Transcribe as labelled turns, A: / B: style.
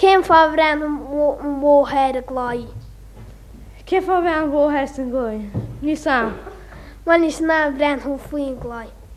A: Cyn ffordd fewn yn wo- yn wohed y gloi.
B: Cyn ffordd fewn fo hes yn glwy. Ni sam.
A: Mae'n i snaf fewn hwn ffwy'n gloi.